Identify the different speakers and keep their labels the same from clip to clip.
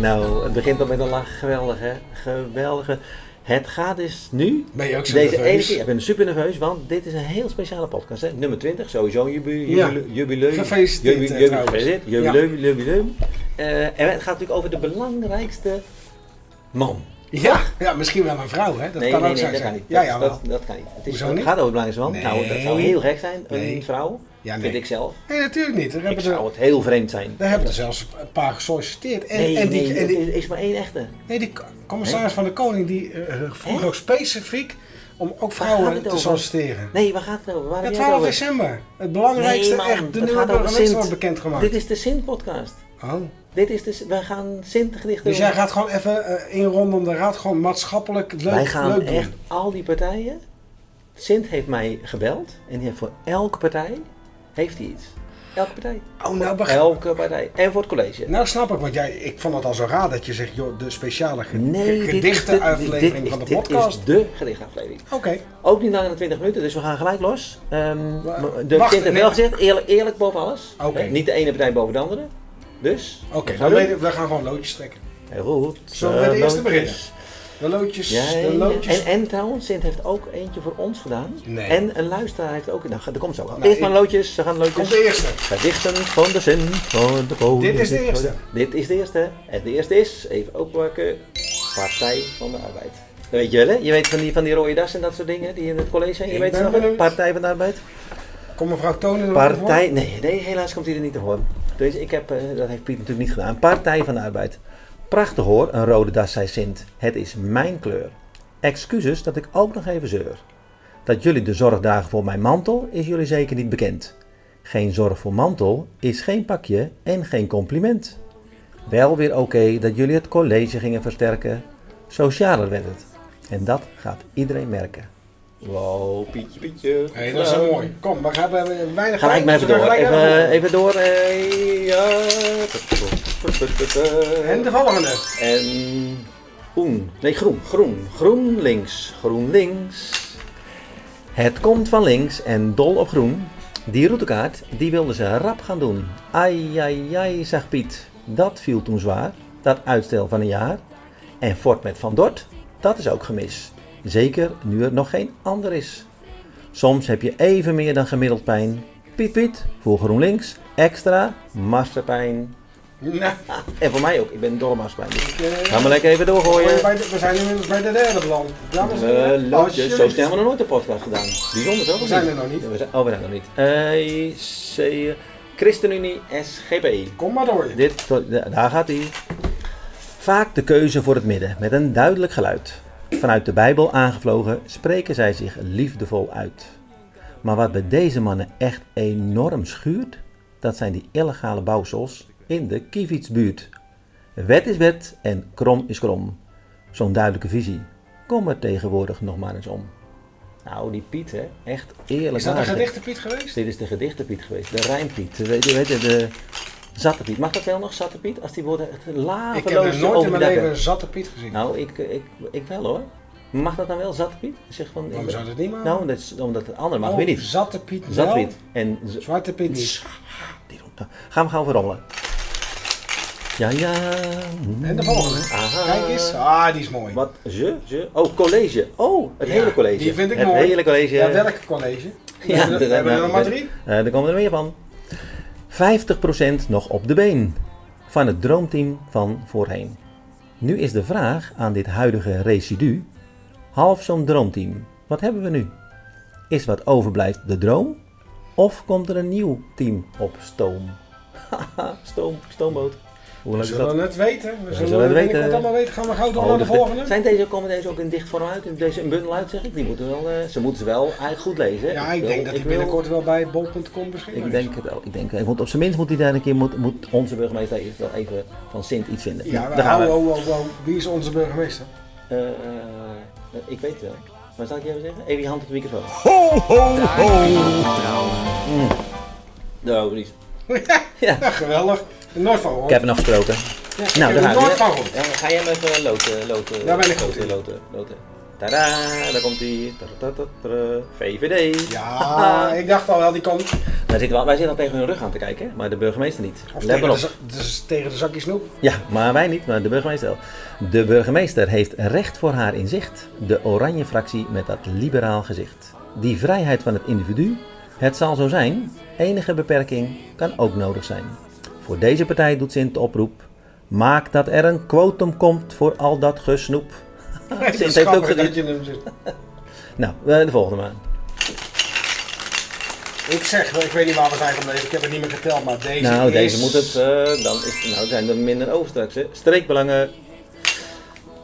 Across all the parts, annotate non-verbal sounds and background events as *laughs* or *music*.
Speaker 1: Nou, het begint al met een lach. Geweldig, hè? Geweldige. Het gaat dus nu.
Speaker 2: Ben je ook zo
Speaker 1: Deze
Speaker 2: nerveus?
Speaker 1: ene keer. Ik ben super nerveus, want dit is een heel speciale podcast. Hè? Nummer 20, sowieso een jubi-
Speaker 2: Ja.
Speaker 1: jubileum. jubileum
Speaker 2: Gefeliciteerd,
Speaker 1: jubi-
Speaker 2: eh,
Speaker 1: jubi-
Speaker 2: trouwens.
Speaker 1: gefeliciteerd, Jubileum, jubileum. Eh, en het gaat natuurlijk over de belangrijkste man.
Speaker 2: Ja, ja, misschien wel een vrouw, hè? Dat
Speaker 1: nee,
Speaker 2: kan
Speaker 1: nee,
Speaker 2: ook
Speaker 1: nee,
Speaker 2: zo
Speaker 1: dat
Speaker 2: zijn.
Speaker 1: kan niet.
Speaker 2: Ja,
Speaker 1: Dat,
Speaker 2: ja, wel.
Speaker 1: dat, dat kan niet. Het, is,
Speaker 2: Hoezo
Speaker 1: het
Speaker 2: niet?
Speaker 1: gaat over het belangrijkste man. Nou, dat zou
Speaker 2: Nee.
Speaker 1: heel gek zijn, een
Speaker 2: Nee.
Speaker 1: vrouw.
Speaker 2: Ja, nee.
Speaker 1: Vind ik zelf.
Speaker 2: Nee, natuurlijk niet. Daar
Speaker 1: Ik
Speaker 2: hebben,
Speaker 1: zou
Speaker 2: ze,
Speaker 1: het heel vreemd zijn.
Speaker 2: daar hebben er zelfs een paar gesolliciteerd. En,
Speaker 1: Nee,
Speaker 2: en die,
Speaker 1: nee,
Speaker 2: en die,
Speaker 1: er is maar één echte.
Speaker 2: nee, die commissaris van de Koning die eh, vroeg
Speaker 1: Hè?
Speaker 2: ook specifiek om ook
Speaker 1: gaat
Speaker 2: vrouwen
Speaker 1: het
Speaker 2: te
Speaker 1: over?
Speaker 2: solliciteren.
Speaker 1: Nee, waar gaat het over? Waar
Speaker 2: Ja,
Speaker 1: heb jij het
Speaker 2: 12
Speaker 1: over?
Speaker 2: december. Het belangrijkste,
Speaker 1: Nee, man,
Speaker 2: echt, de
Speaker 1: het
Speaker 2: nieuwe
Speaker 1: gaat over
Speaker 2: burgemeester
Speaker 1: Sint.
Speaker 2: wordt bekendgemaakt.
Speaker 1: Dit is de Sint-podcast.
Speaker 2: Oh.
Speaker 1: Dit is de, we gaan Sint-gedichten
Speaker 2: Dus jij gaat gewoon even eh, in rondom de raad, gewoon maatschappelijk leuk,
Speaker 1: Wij gaan
Speaker 2: leuk doen.
Speaker 1: echt al die partijen. Sint heeft mij gebeld en die heeft voor elke partij heeft hij iets. Elke partij.
Speaker 2: Oh, nou
Speaker 1: Voor
Speaker 2: begrijp-
Speaker 1: Elke partij. En voor het college.
Speaker 2: Nou snap ik, want jij, ik vond het al zo raar dat je zegt, joh, de speciale ge-
Speaker 1: nee, dit is de-
Speaker 2: gedichtenuitlevering
Speaker 1: dit is-
Speaker 2: Nou, van de
Speaker 1: dit
Speaker 2: podcast.
Speaker 1: is de gedichtaflevering.
Speaker 2: Oké,
Speaker 1: Ook niet langer dan 20 minuten, dus we gaan gelijk los. Ehm
Speaker 2: Wa-
Speaker 1: de
Speaker 2: wacht,
Speaker 1: Sint heeft
Speaker 2: nee.
Speaker 1: wel gezegd, eerlijk, eerlijk boven alles.
Speaker 2: Oké.
Speaker 1: Eh, Niet de ene partij boven de andere. Dus,
Speaker 2: oké,
Speaker 1: we gaan
Speaker 2: dan
Speaker 1: doen.
Speaker 2: weten we- we gaan gewoon loodjes trekken.
Speaker 1: Heel goed.
Speaker 2: Zullen we met de eerste
Speaker 1: Eh,
Speaker 2: beginnen? De loodjes,
Speaker 1: Ja,
Speaker 2: de
Speaker 1: ja, ja.
Speaker 2: loodjes.
Speaker 1: en, en trouwens, Sint heeft ook eentje voor ons gedaan.
Speaker 2: Nee.
Speaker 1: En een luisteraar heeft ook... Nou, dat komt zo.
Speaker 2: Nou,
Speaker 1: Eerst maar
Speaker 2: ik-
Speaker 1: loodjes, ze gaan
Speaker 2: Komt de
Speaker 1: loodjes.
Speaker 2: eerste.
Speaker 1: Gedichten van de Sint, van de koning.
Speaker 2: Dit is de eerste.
Speaker 1: Dit is de eerste. En de eerste is, even oppakken, Partij van de Arbeid. Dat weet je wel, hè? Je weet van die, van die rode das en dat soort dingen die in het college zijn. Je
Speaker 2: Ik
Speaker 1: weet
Speaker 2: ben
Speaker 1: ze nog, hè?
Speaker 2: benieuwd.
Speaker 1: Partij van de Arbeid.
Speaker 2: Kom mevrouw Tonen er nog
Speaker 1: Partij... Nee, nee, helaas komt hij er niet te horen. Dus ik heb, eh, dat heeft Piet natuurlijk niet gedaan. Partij van de Arbeid. Prachtig hoor, een rode das, zei Sint. Het is mijn kleur. Excuses dat ik ook nog even zeur. Dat jullie de zorg dragen voor mijn mantel is jullie zeker niet bekend. Geen zorg voor mantel is geen pakje en geen compliment. Wel weer oké dat jullie het college gingen versterken. Socialer werd het. En dat gaat iedereen merken. Wow, Pietje, Pietje. Eh,
Speaker 2: voor? Hé, dat is wel mooi. Kom, we gaan we hebben weinig
Speaker 1: Gelijk
Speaker 2: tijd,
Speaker 1: maar
Speaker 2: dus
Speaker 1: even
Speaker 2: we gaan
Speaker 1: door.
Speaker 2: gelijk
Speaker 1: Even,
Speaker 2: naar de
Speaker 1: eh, even door. eh, ja.
Speaker 2: volgende. En de volgende.
Speaker 1: En oen. Nee, groen. Groen. Groen links. Groen links. Het komt van links en dol op groen. Die routekaart, die wilden ze rap gaan doen. Ai, ai, ai, zag Piet. Dat viel toen zwaar. Dat uitstel van een jaar. En Fort met Van Dort, dat is ook gemis. Zeker nu er nog geen ander is. Soms heb je even meer dan gemiddeld pijn. Piet Piet, voor GroenLinks, extra masterpijn.
Speaker 2: Nou,
Speaker 1: Ah, en voor mij ook, ik ben dol op masterpijn. Dus
Speaker 2: eh,
Speaker 1: Ga maar lekker even doorgooien.
Speaker 2: bij de- we zijn inmiddels bij de derde beland. Dames en
Speaker 1: We
Speaker 2: heren,
Speaker 1: loodjes. Zo snel
Speaker 2: alsjeblieft.
Speaker 1: hebben we nog nooit een podcast gedaan. Bijzonder toch? of
Speaker 2: Oh, We zijn
Speaker 1: niet?
Speaker 2: er nog niet.
Speaker 1: We zijn- oh, we zijn er nog niet. Eh, C, eh, ChristenUnie SGP.
Speaker 2: Kom maar door.
Speaker 1: Dit, daar gaat hij. Vaak de keuze voor het midden met een duidelijk geluid. Vanuit de Bijbel aangevlogen spreken zij zich liefdevol uit. Maar wat bij deze mannen echt enorm schuurt, dat zijn die illegale bouwsels in de Kievitsbuurt. Wet is wet en krom is krom. Zo'n duidelijke visie. Kom er tegenwoordig nog maar eens om. Nou, die Piet, hè? Echt eerlijk
Speaker 2: Is dat een
Speaker 1: waar, zeg.
Speaker 2: gedichtenpiet geweest?
Speaker 1: Dit is de gedichtenpiet geweest, de rijmpiet, de, weet je, de zattepiet. Mag dat wel nog, zattepiet? Als die worden echt
Speaker 2: Ik heb nog
Speaker 1: laveloos
Speaker 2: nooit in mijn
Speaker 1: overdekken.
Speaker 2: leven een zatte Piet gezien.
Speaker 1: Nou, ik, ik, ik wel hoor. Mag dat dan wel, zattepiet? Zeg van, ik-
Speaker 2: Waarom zou dat niet mogen?
Speaker 1: Nou, dat is, omdat het andere mag
Speaker 2: Oh,
Speaker 1: weer niet.
Speaker 2: Zatte Piet wel,
Speaker 1: Zattepiet. En z-
Speaker 2: Zwarte Piet niet.
Speaker 1: die roept dan. Gaan we gaan verrommelen. Ja, ja.
Speaker 2: En de volgende.
Speaker 1: Aha.
Speaker 2: Kijk eens. Ah, die is mooi.
Speaker 1: Wat, ze, ze? Oh, college. Oh, het
Speaker 2: Ja,
Speaker 1: hele college.
Speaker 2: Die vind ik
Speaker 1: het
Speaker 2: mooi.
Speaker 1: hele college.
Speaker 2: Ja, welk college? We hebben er- we hebben er nog maar drie.
Speaker 1: Eh, er komen er meer van. 50% nog op de been van het droomteam van voorheen. Nu is de vraag aan dit huidige residu: half zo'n droomteam, wat hebben we nu? Is wat overblijft de droom? Of komt er een nieuw team op stoom? *laughs* Haha, stoom, stoomboot. Hoe
Speaker 2: We
Speaker 1: leuk is dat?
Speaker 2: zullen het weten. We
Speaker 1: zullen
Speaker 2: zullen
Speaker 1: het
Speaker 2: het
Speaker 1: weten.
Speaker 2: binnenkort allemaal weten. Gaan we gauw door naar de
Speaker 1: Oh, dus de-
Speaker 2: volgende?
Speaker 1: Zijn deze, komen deze ook in dicht vorm uit? In deze in bundel uit, zeg ik? Die moeten wel, eh, ze moeten ze wel eigenlijk goed lezen. hè?
Speaker 2: Ja, ik
Speaker 1: wil-
Speaker 2: denk dat die
Speaker 1: wil-
Speaker 2: binnenkort wel bij bol.com beschikbaar
Speaker 1: Ik
Speaker 2: is.
Speaker 1: denk het wel. Ik denk, eh, want op zijn minst moet hij daar een keer, moet, moet onze burgemeester even, wel even van Sint iets vinden.
Speaker 2: Ja, oh,
Speaker 1: Nou,
Speaker 2: maar
Speaker 1: daar gaan we.
Speaker 2: ho, ho, ho, ho. Wie is onze burgemeester?
Speaker 1: Eh, eh, ik weet het wel. Maar zal ik je even zeggen? Even je hand op de microfoon.
Speaker 2: Ho, ho, ho.
Speaker 1: Nou, niet. *laughs* Ja,
Speaker 2: Ja, *laughs* geweldig. Nooit van
Speaker 1: ik
Speaker 2: hoor.
Speaker 1: heb er nog gesproken.
Speaker 2: Nou,
Speaker 1: daar
Speaker 2: daar
Speaker 1: gaan we.
Speaker 2: nooit van goed.
Speaker 1: Ja, ga jij hem even loten, loten.
Speaker 2: Daar ben ik goed
Speaker 1: loten,
Speaker 2: in.
Speaker 1: loten, loten. Tadaa, daar komt hij. VVD. *laughs*
Speaker 2: Ja, ik dacht al wel, die komt.
Speaker 1: Daar zitten we, al- wij zitten al tegen hun rug aan te kijken, hè? maar de burgemeester niet.
Speaker 2: Of
Speaker 1: Let
Speaker 2: tegen
Speaker 1: maar
Speaker 2: de,
Speaker 1: op.
Speaker 2: za- dus tegen de
Speaker 1: *laughs*
Speaker 2: zakje snoep.
Speaker 1: Ja, maar wij niet, maar de burgemeester wel. De burgemeester heeft recht voor haar in zicht. De oranje fractie met dat liberaal gezicht. Die vrijheid van het individu, het zal zo zijn, enige beperking kan ook nodig zijn. Voor deze partij doet Sint de oproep. Maak dat er een quotum komt voor al dat gesnoep.
Speaker 2: Nee,
Speaker 1: Sint
Speaker 2: dat is
Speaker 1: heeft ook
Speaker 2: grappig dat
Speaker 1: gediend.
Speaker 2: je hem zegt.
Speaker 1: Nou, eh, de volgende maar.
Speaker 2: Ik zeg, ik weet niet waar we zijn gebleven, ik heb het niet meer geteld, maar deze
Speaker 1: Nou,
Speaker 2: is...
Speaker 1: deze moet het. eh, dan is, nou, zijn er minder over straks. Hè. Streekbelangen.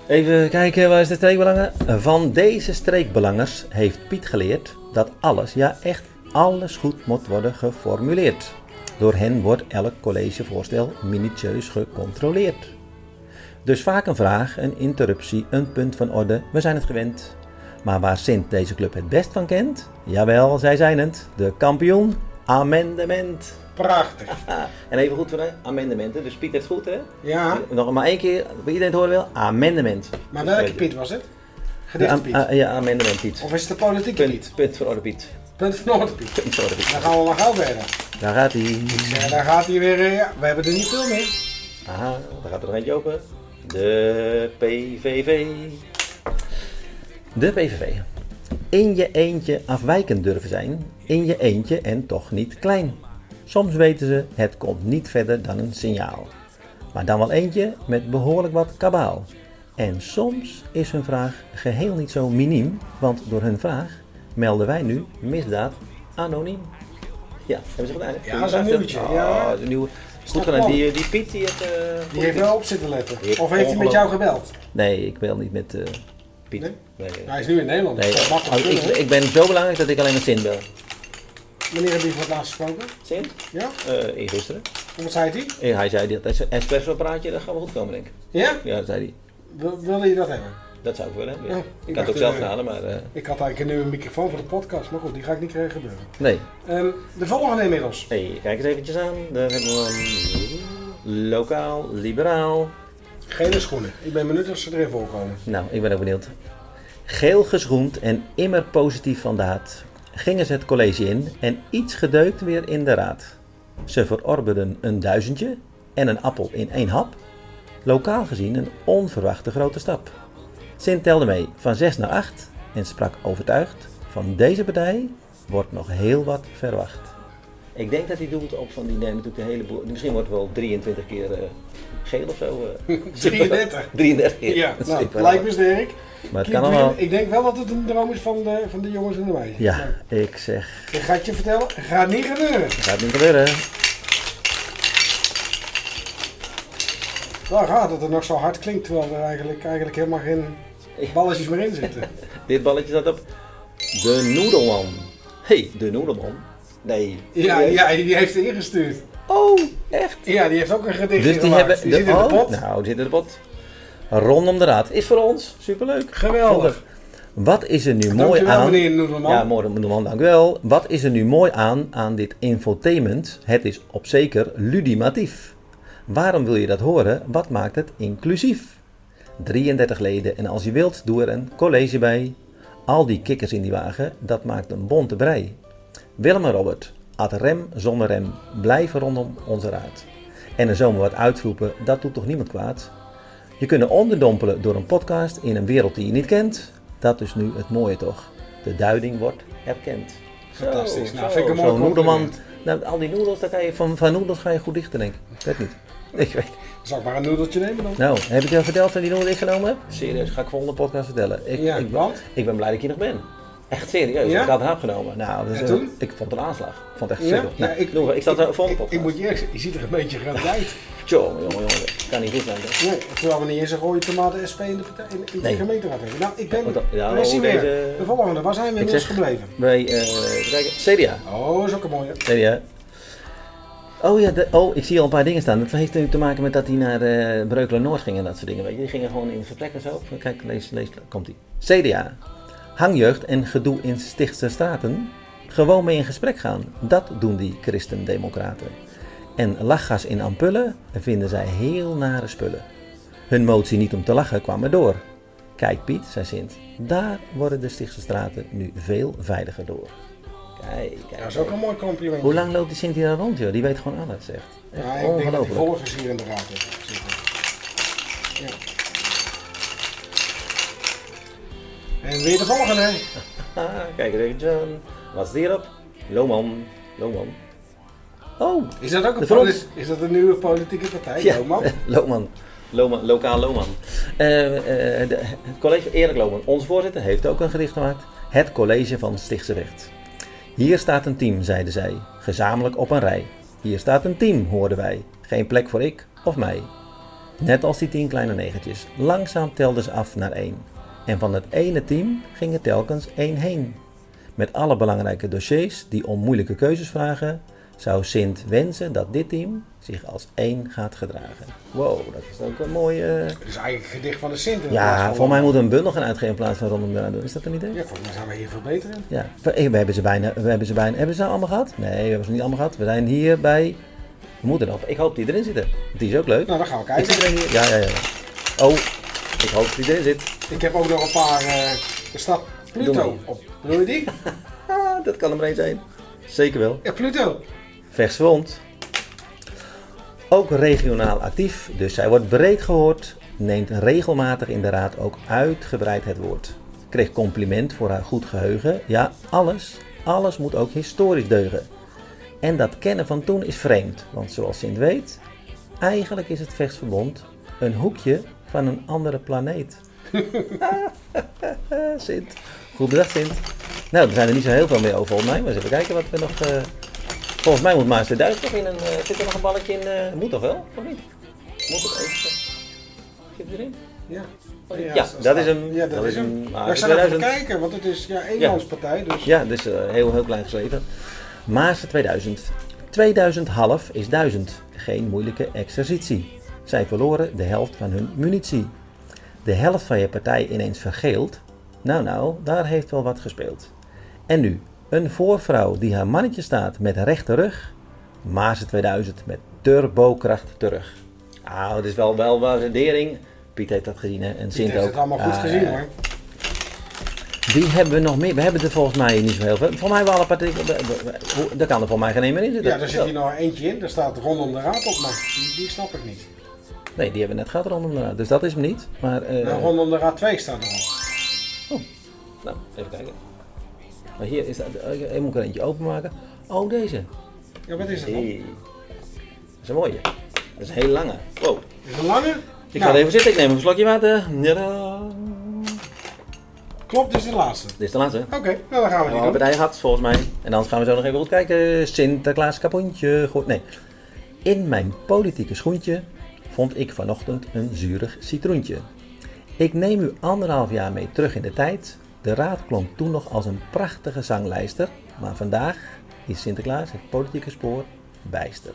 Speaker 1: Even kijken, waar is de streekbelangen? Van deze streekbelangers heeft Piet geleerd dat alles, ja echt alles goed moet worden geformuleerd. Door hen wordt elk collegevoorstel minutieus gecontroleerd. Dus vaak een vraag, een interruptie, een punt van orde, we zijn het gewend. Maar waar Sint deze club het best van kent? Jawel, zij zijn het, de kampioen, amendement.
Speaker 2: Prachtig.
Speaker 1: En even goed voor de amendementen. Dus Piet heeft goed, hè?
Speaker 2: Ja,
Speaker 1: Nog maar één keer, bij iedereen het horen wil. Amendement.
Speaker 2: maar
Speaker 1: Dus
Speaker 2: welke
Speaker 1: weet
Speaker 2: Piet was het?
Speaker 1: je. De am-
Speaker 2: Gedichtpiet?
Speaker 1: ah, ja, amendement Piet.
Speaker 2: Of is het de politieke Piet?
Speaker 1: Punt, punt voor orde Piet.
Speaker 2: Punt van orde Piet.
Speaker 1: Punt voor orde Piet.
Speaker 2: Dan gaan we maar gauw verder.
Speaker 1: Daar gaat hij.
Speaker 2: Ja, daar gaat hij weer, eh, ja, we hebben er niet veel meer.
Speaker 1: Aha, daar gaat er nog eentje open. De PVV. De PVV. In je eentje afwijkend durven zijn. In je eentje en toch niet klein. Soms weten ze, het komt niet verder dan een signaal. Maar dan wel eentje met behoorlijk wat kabaal. En soms is hun vraag geheel niet zo miniem, want door hun vraag melden wij nu misdaad anoniem. Ja, hebben ze gedaan? hè?
Speaker 2: Ja, zo'n nieuwtje, ja.
Speaker 1: Oh, zo'n nieuwe. Goed
Speaker 2: Snap
Speaker 1: gedaan.
Speaker 2: man.
Speaker 1: Die, die Piet, die heeft... eh, goed
Speaker 2: Die heeft
Speaker 1: gedaan.
Speaker 2: wel op zitten letten.
Speaker 1: Dit
Speaker 2: Of heeft hij met jou
Speaker 1: ongelooflijk.
Speaker 2: gebeld?
Speaker 1: Nee, ik bel niet met eh, Piet.
Speaker 2: Nee?
Speaker 1: Nee? Nee.
Speaker 2: Hij is nu in Nederland, dus dat mag
Speaker 1: Als
Speaker 2: toch
Speaker 1: ik,
Speaker 2: kunnen.
Speaker 1: ik ben zo belangrijk dat ik alleen met Sint bel.
Speaker 2: Wanneer heb je voor het laatst gesproken?
Speaker 1: Sint?
Speaker 2: Ja?
Speaker 1: Eh eergisteren.
Speaker 2: En Wat zei hij?
Speaker 1: Eh, hij zei, dat is een espresso praatje, dat gaat wel goed komen denk ik.
Speaker 2: Ja?
Speaker 1: Ja, dat zei hij.
Speaker 2: Wil- Wilde je dat hebben?
Speaker 1: Dat zou ik willen. hebben, ja.
Speaker 2: Ja, ik
Speaker 1: ik had
Speaker 2: dacht,
Speaker 1: het ook zelf
Speaker 2: eh,
Speaker 1: gedaan, maar eh,
Speaker 2: Ik had eigenlijk een nieuwe microfoon voor de podcast, maar goed, die ga ik niet krijgen gebeuren.
Speaker 1: nee.
Speaker 2: Ehm, de volgende inmiddels.
Speaker 1: Hey, kijk eens eventjes aan. Daar hebben we hem. Lokaal, liberaal.
Speaker 2: Gele schoenen. Ik ben benieuwd of ze erin voorkomen.
Speaker 1: Nou, ik ben ook benieuwd. Geel geschoend en immer positief van daad. Gingen ze het college in en iets gedeukt weer in de raad. Ze verorberden een duizendje en een appel in één hap. Lokaal gezien een onverwachte grote stap. Sint telde mee van 6 naar 8 en sprak overtuigd: van deze partij wordt nog heel wat verwacht. Ik denk dat hij doelt op van die nemen natuurlijk een heleboel. Misschien wordt het wel 23 keer eh, geel of zo. eh.
Speaker 2: 33.
Speaker 1: 33 keer.
Speaker 2: Ja,
Speaker 1: Dat is
Speaker 2: nou,
Speaker 1: super.
Speaker 2: lijkt me sterk.
Speaker 1: Maar het
Speaker 2: Klinkt
Speaker 1: kan allemaal.
Speaker 2: weer- Ik denk wel dat het een droom is van de, van de jongens en de meisjes. Nou,
Speaker 1: Ja, ik zeg,
Speaker 2: ik ga het je vertellen, gaat niet gebeuren.
Speaker 1: gaat niet gebeuren.
Speaker 2: Wel Nou, raar dat het nog zo hard klinkt, terwijl er eigenlijk, eigenlijk helemaal geen balletjes meer in zitten.
Speaker 1: Dit balletje zat op de Noedelman. Hé, hey, de Noedelman? Nee.
Speaker 2: Ja, ja, die heeft er ingestuurd.
Speaker 1: Oh, echt?
Speaker 2: Ja, die heeft ook een gedichtje
Speaker 1: Dus die
Speaker 2: gemaakt.
Speaker 1: hebben
Speaker 2: die zit in de
Speaker 1: oh,
Speaker 2: pot.
Speaker 1: Nou, die zit in de pot. Rondom de raad. Is voor ons superleuk.
Speaker 2: Geweldig.
Speaker 1: Wat is er nu mooi
Speaker 2: Dankjewel
Speaker 1: aan?
Speaker 2: meneer Noedelman.
Speaker 1: Ja, mooi Noedelman, dank u wel. Wat is er nu mooi aan aan dit infotainment? Het is op zeker ludimatief. Waarom wil je dat horen? Wat maakt het inclusief? 33 leden en als je wilt, doe er een college bij. Al die kikkers in die wagen, dat maakt een bonte brei. Willem en Robert, ad rem zonder rem, blijven rondom onze raad. En er zomaar wat uitroepen, dat doet toch niemand kwaad? Je kunt er onderdompelen door een podcast in een wereld die je niet kent. Dat is nu het mooie toch? De duiding wordt herkend.
Speaker 2: Fantastisch.
Speaker 1: Zo,
Speaker 2: Nou,
Speaker 1: zo,
Speaker 2: vind ik een mooi
Speaker 1: zo'n noedelman.
Speaker 2: compliment.
Speaker 1: Nou, al die noedels, daar kan je van, van noedels ga je goed dichten, denk ik. Ik weet niet. Ik weet
Speaker 2: Zal ik maar een noedeltje nemen dan?
Speaker 1: Nou, heb ik jou verteld van die noedel die ik genomen heb? Serieus, ga ik volgende podcast vertellen. Ik,
Speaker 2: Ja,
Speaker 1: ik,
Speaker 2: want?
Speaker 1: ik ben blij dat ik hier nog ben. Echt serieus,
Speaker 2: Ja?
Speaker 1: ik had een hap genomen. Nou, dat is
Speaker 2: En
Speaker 1: een-
Speaker 2: toen?
Speaker 1: ik vond het een aanslag. Ik vond het echt
Speaker 2: Ja?
Speaker 1: verschrikkelijk.
Speaker 2: Ja,
Speaker 1: nou, ik, ik zat er volgende
Speaker 2: ik, ik
Speaker 1: podcast.
Speaker 2: moet je eerlijk zeggen, je ziet er een beetje groot uit.
Speaker 1: Tjonge, jonge, jonge. Kan niet goed zijn. hè?
Speaker 2: Nee, terwijl we niet eens een rode tomaten SP in de, partij- in, in
Speaker 1: Nee.
Speaker 2: de gemeenteraad hebben. Nou, ik
Speaker 1: Wat
Speaker 2: ben...
Speaker 1: dan? Ja,
Speaker 2: daar is hij
Speaker 1: oh,
Speaker 2: weer.
Speaker 1: deze-
Speaker 2: De volgende, waar zijn we inmiddels
Speaker 1: zeg-
Speaker 2: gebleven?
Speaker 1: Bij, eh, even kijken, CDA.
Speaker 2: Oh, is ook een mooie.
Speaker 1: CDA. Oh ja, de- oh, ik zie al een paar dingen staan. Dat heeft nu te maken met dat hij naar eh Breukelen Noord ging en dat soort dingen. Weet je. Die gingen gewoon in het vertrek en zo. Kijk, lees, lees, komt ie. CDA. Hangjeugd en gedoe in stichtse straten. Gewoon mee in gesprek gaan. Dat doen die christendemocraten. En lachgas in ampullen vinden zij heel nare spullen. Hun motie niet om te lachen kwam er door. Kijk Piet, zei Sint, daar worden de stichtse straten nu veel veiliger door. Kijk, kijk,
Speaker 2: Dat is ook een mooi compliment.
Speaker 1: Hoe lang loopt die Sint hier al rond, joh? Die weet gewoon alles, echt. Echt
Speaker 2: Ja, ik denk dat die
Speaker 1: ongelooflijk.
Speaker 2: volgers hier in de raad zitten. Ja. En weer de volgende.
Speaker 1: Ah, kijk, Rick John. Wat is hierop? Loman. Loman. Oh,
Speaker 2: Is dat ook
Speaker 1: De
Speaker 2: een,
Speaker 1: Frans.
Speaker 2: polit- is dat een nieuwe politieke partij,
Speaker 1: Ja. *laughs*
Speaker 2: Joman?
Speaker 1: Loman. Loman, lokaal Loman. Eh, eh, de- het college Erik Loman, onze voorzitter, heeft ook een gedicht gemaakt. Het college van Stichtse Recht. Hier staat een team, zeiden zij, gezamenlijk op een rij. Hier staat een team, hoorden wij. Geen plek voor ik of mij. Net als die tien kleine negentjes, langzaam telden ze af naar één. En van het ene team ging er telkens één heen. Met alle belangrijke dossiers die om moeilijke keuzes vragen, zou Sint wensen dat dit team zich als één gaat gedragen. Wow, dat is ook een mooie.
Speaker 2: Dat is eigenlijk een gedicht van de Sint. in plaats
Speaker 1: Ja,
Speaker 2: van-
Speaker 1: voor mij moet een bundel gaan uitgeven in plaats van rondom doen. Is dat een idee?
Speaker 2: Ja, volgens mij zijn we hier veel beter in.
Speaker 1: Ja. We hebben ze bijna. We hebben ze bijna. Hebben ze nou allemaal gehad? Nee, we hebben ze niet allemaal gehad. We zijn hier bij. We moeten nog. Ik hoop die erin zitten. Die is ook leuk.
Speaker 2: Nou, dan gaan we
Speaker 1: Is
Speaker 2: kijken.
Speaker 1: die erin hier? Ja, ja, ja. Oh, ik hoop dat die erin zit.
Speaker 2: Ik heb ook nog een paar. eh er staat
Speaker 1: Doe
Speaker 2: Pluto
Speaker 1: maar.
Speaker 2: op. Wil je die?
Speaker 1: Ah, dat kan er maar één zijn. Zeker wel.
Speaker 2: Ja, Pluto.
Speaker 1: Verswond. Ook regionaal actief, dus zij wordt breed gehoord, neemt regelmatig in de raad ook uitgebreid het woord. Kreeg compliment voor haar goed geheugen. Ja, alles, alles moet ook historisch deugen. En dat kennen van toen is vreemd, want zoals Sint weet, eigenlijk is het Vechtsverbond een hoekje van een andere planeet. *laughs* Sint, goed bedacht Sint. Nou, er zijn er niet zo heel veel meer over volgens mij, maar eens even kijken wat we nog... eh, Volgens mij moet Maas de Duif toch in een. eh, zit er nog een balletje in? eh, moet toch wel? Of niet? Moet het even. Geef erin.
Speaker 2: Oh, Ja.
Speaker 1: Ja,
Speaker 2: dat
Speaker 1: dat
Speaker 2: staat-
Speaker 1: is ah, hem.
Speaker 2: Ja, dat, is hem. Maar ik zal even
Speaker 1: 2000.
Speaker 2: kijken, want het is ja, eenmanspartij. Dus
Speaker 1: Ja, dus eh, heel, heel klein geschreven. Maas 2000. 2000 half is 1000. Geen moeilijke exercitie. Zij verloren de helft van hun munitie. De helft van je partij ineens vergeeld. Nou, nou, daar heeft wel wat gespeeld. En nu, een voorvrouw die haar mannetje staat met rechte rug. Maas 2000 met turbokracht terug. Ah, het is wel, wel wel een dering. Piet heeft dat gezien hè? en
Speaker 2: Piet
Speaker 1: Sint
Speaker 2: heeft
Speaker 1: ook.
Speaker 2: het allemaal goed
Speaker 1: Ah,
Speaker 2: gezien
Speaker 1: ja.
Speaker 2: hoor.
Speaker 1: Die hebben we nog meer. We hebben er volgens mij niet zo heel veel. Volgens mij hebben we alle partijen. we- we- we- hoe- Daar kan er volgens mij geen één meer in zitten.
Speaker 2: Ja, daar zit hier nog eentje in. Daar staat rondom de raad op, maar die, die snap ik niet.
Speaker 1: Nee, die hebben we net gehad rondom de raad. Dus dat is hem niet. Maar. eh,
Speaker 2: Nou, rondom de raad 2 staat er al.
Speaker 1: nou, even kijken. Maar hier is dat. eh, Ik moet er eentje openmaken. Oh, deze.
Speaker 2: Ja, wat is dat dan?
Speaker 1: Hey. Dat is een mooie. Dat is een heel lange. Wow.
Speaker 2: Is het een lange?
Speaker 1: Ik
Speaker 2: Nou,
Speaker 1: ga er even zitten. Ik neem een slokje water. Ja.
Speaker 2: Klopt, dit is de laatste.
Speaker 1: Dit is de laatste.
Speaker 2: Oké, nou
Speaker 1: We
Speaker 2: dan gaan we die
Speaker 1: hebben
Speaker 2: doen.
Speaker 1: partij gehad, volgens mij. En dan gaan we zo nog even goed kijken. Sinterklaas kapoentje. Goed, nee. In mijn politieke schoentje vond ik vanochtend een zuurig citroentje. Ik neem u anderhalf jaar mee terug in de tijd. De raad klonk toen nog als een prachtige zanglijster. Maar vandaag is Sinterklaas het politieke spoor bijster.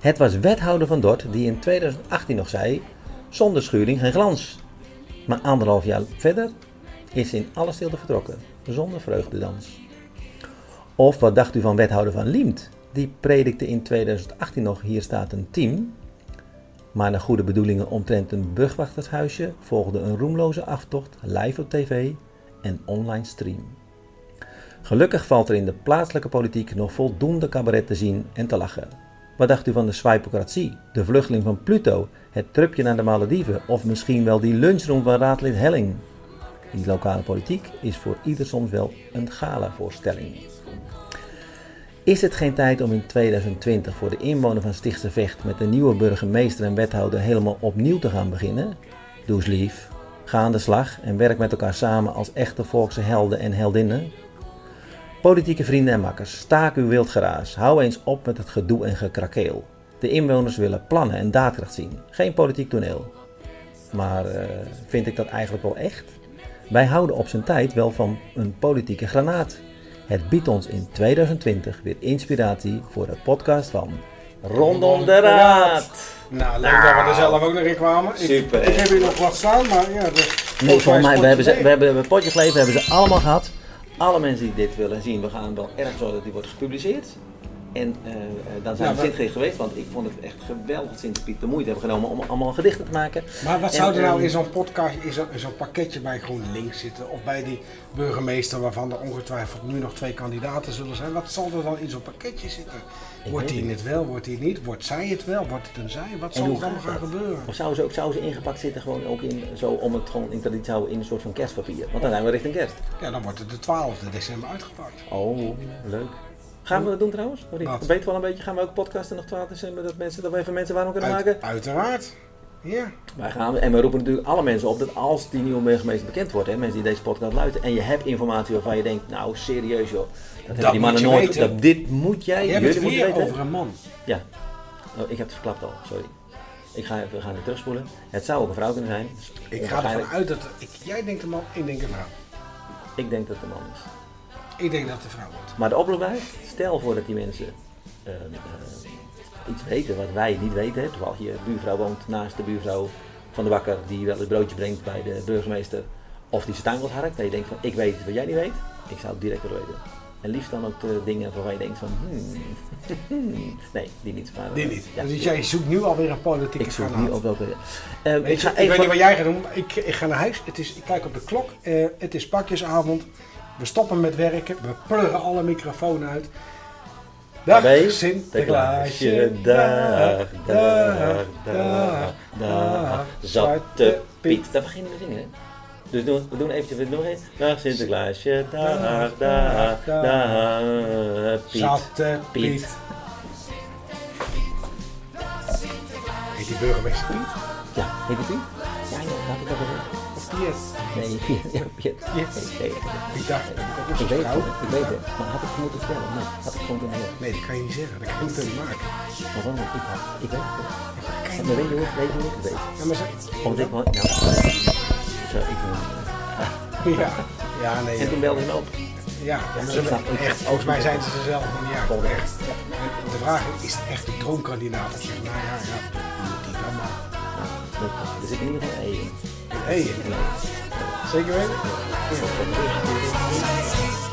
Speaker 1: Het was wethouder van Dort die in 2018 nog zei: zonder schuring geen glans. Maar anderhalf jaar verder is in alle stilte vertrokken, zonder vreugdedans. Of wat dacht u van wethouder van Liemt? Die predikte in 2018 nog: hier staat een team. Maar na goede bedoelingen omtrent een brugwachtershuisje volgde een roemloze aftocht live op tv en online stream. Gelukkig valt er in de plaatselijke politiek nog voldoende cabaret te zien en te lachen. Wat dacht u van de swipocratie, de vluchteling van Pluto, het tripje naar de Malediven of misschien wel die lunchroom van raadlid Helling? Die lokale politiek is voor ieder soms wel een galavoorstelling. Is het geen tijd om in 2020 voor de inwoner van Stichtse Vecht met de nieuwe burgemeester en wethouder helemaal opnieuw te gaan beginnen? Doe eens lief, ga aan de slag en werk met elkaar samen als echte volkse helden en heldinnen. Politieke vrienden en makkers, staak uw wild geraas. Hou eens op met het gedoe en gekrakeel. De inwoners willen plannen en daadkracht zien, geen politiek toneel. Maar eh, vind ik dat eigenlijk wel echt? Wij houden op zijn tijd wel van een politieke granaat. Het biedt ons in 2020 weer inspiratie voor de podcast van Rondom de Raad.
Speaker 2: Nou, leuk dat we er zelf ook nog in kwamen. Ik,
Speaker 1: Super,
Speaker 2: Ik
Speaker 1: hè?
Speaker 2: heb hier nog wat staan, maar ja, dus...
Speaker 1: Nee, volgens mij, we hebben, ze,
Speaker 2: Nee.
Speaker 1: we hebben een potje geleefd, we hebben ze allemaal gehad. Alle mensen die dit willen zien, we gaan wel erg zorgen dat die wordt gepubliceerd. En eh, eh, dan zijn
Speaker 2: Ja,
Speaker 1: we
Speaker 2: maar-
Speaker 1: Sint geweest, want ik vond het echt geweldig dat Sint Piet de moeite hebben genomen om allemaal gedichten te maken.
Speaker 2: Maar wat
Speaker 1: En,
Speaker 2: zou er nou
Speaker 1: ehm,
Speaker 2: in zo'n podcast, in zo'n in zo'n pakketje bij GroenLinks zitten? Of bij die burgemeester waarvan er ongetwijfeld nu nog twee kandidaten zullen zijn. Wat zal er dan in zo'n pakketje zitten? Wordt
Speaker 1: weet
Speaker 2: hij
Speaker 1: het
Speaker 2: het wel, wordt hij niet? Wordt zij het wel, wordt het een zij? Wat
Speaker 1: En
Speaker 2: zal
Speaker 1: hoe
Speaker 2: er allemaal
Speaker 1: gaat
Speaker 2: gaan
Speaker 1: dat?
Speaker 2: gebeuren?
Speaker 1: Of zou ze ook zou ze ingepakt zitten gewoon ook in, zo om het gewoon in traditie te houden in een soort van kerstpapier? Want dan zijn we richting kerst.
Speaker 2: Ja, dan wordt het de 12e december uitgepakt.
Speaker 1: Oh, leuk. Gaan we dat doen trouwens? Of niet?
Speaker 2: Wat?
Speaker 1: Dat weten we al een beetje. Gaan we ook podcasten nog 12 december dat, mensen, dat we even mensen warm kunnen
Speaker 2: Uit-
Speaker 1: maken?
Speaker 2: uiteraard. Ja.
Speaker 1: Wij gaan, en we roepen natuurlijk alle mensen op dat als die nieuwe burgemeester bekend wordt, hè, mensen die deze podcast luisteren, en je hebt informatie waarvan je denkt, nou serieus joh, dat hebben die
Speaker 2: moet
Speaker 1: mannen
Speaker 2: je
Speaker 1: nooit,
Speaker 2: weten.
Speaker 1: dat, dit moet jij,
Speaker 2: Je hebt
Speaker 1: jullie
Speaker 2: het
Speaker 1: moeten
Speaker 2: weer over een man.
Speaker 1: Ja, oh, ik heb het verklapt al, sorry. Ik ga, we gaan het terugspoelen. Het zou ook een vrouw kunnen zijn.
Speaker 2: Ik ga ervan
Speaker 1: Onwaarschijnlijk.
Speaker 2: uit dat... Ik, jij denkt een man, ik denk een vrouw.
Speaker 1: Ik denk dat het een man is.
Speaker 2: Ik denk dat het een vrouw wordt.
Speaker 1: Maar de oproep blijft, stel voor dat die mensen eh, eh, iets weten wat wij niet weten. hè. Terwijl je buurvrouw woont naast de buurvrouw van de bakker die wel het broodje brengt bij de burgemeester. Of die zijn tuin wil harkt. Dat je denkt van ik weet wat jij niet weet. Ik zou het direct willen weten. En liefst dan ook de dingen waarvan je denkt van *laughs* hmm. nee, die niet. Maar, eh,
Speaker 2: Dit niet.
Speaker 1: ja.
Speaker 2: dus jij zoekt nu alweer een politieke
Speaker 1: ik zoek
Speaker 2: granaat.
Speaker 1: nu op welke. Eh,
Speaker 2: Weet
Speaker 1: ik
Speaker 2: je,
Speaker 1: ga
Speaker 2: ik weet
Speaker 1: even.
Speaker 2: niet wat jij gaat doen. maar Ik, ik ga naar huis. Het is, ik kijk op de klok. Eh, het is pakjesavond. We stoppen met werken. We pluggen alle microfoon uit. Dag,
Speaker 1: Bij
Speaker 2: Sinterklaasje.
Speaker 1: dag, dag, dag, dag. Zwarte Piet. Daar beginnen we zingen, hè? Dus doen, we doen eventjes, we doen nog eens. Dag Sinterklaasje, dag, dag, dag, Piet.
Speaker 2: Zwarte Piet.
Speaker 1: Piet.
Speaker 2: Heet die burgemeester Piet?
Speaker 1: Ja, heet het Piet? Ja, ja, dat heb ik al gezegd.
Speaker 2: Of Piet?
Speaker 1: Nee, *laughs* Piet, ja, Piet.
Speaker 2: Yes.
Speaker 1: Nee, nee,
Speaker 2: Piet, daar heb ik ook nog
Speaker 1: Ik
Speaker 2: zo'n
Speaker 1: weet
Speaker 2: vrouw.
Speaker 1: het, ik weet het. Maar had ik het moeten vertellen? Nee, had ik gewoon kunnen zeggen.
Speaker 2: Nee, dat kan je niet zeggen. Dat kan je niet maken.
Speaker 1: Maar waarom ik Piet had? Ik weet het. En dan weet je hoe ik- weet je hoe ik het weet.
Speaker 2: Ja, maar ze-
Speaker 1: Omdat ik wel... Nou, zo, ik
Speaker 2: Ja. Ja, nee.
Speaker 1: En toen belde ze me op.
Speaker 2: Ja,
Speaker 1: Ja,
Speaker 2: maar
Speaker 1: ik snap-
Speaker 2: ze-
Speaker 1: ik-
Speaker 2: echt, volgens mij zijn ze er zelf niet uit.
Speaker 1: Volgens mij.
Speaker 2: Echt. En de vraag is, is het echt de droomkandidaat? Ik zeg, nou ja, ja, moet die dan maar.
Speaker 1: Er zit in ieder geval een E in.
Speaker 2: Hé, zeker weten?
Speaker 1: Ja.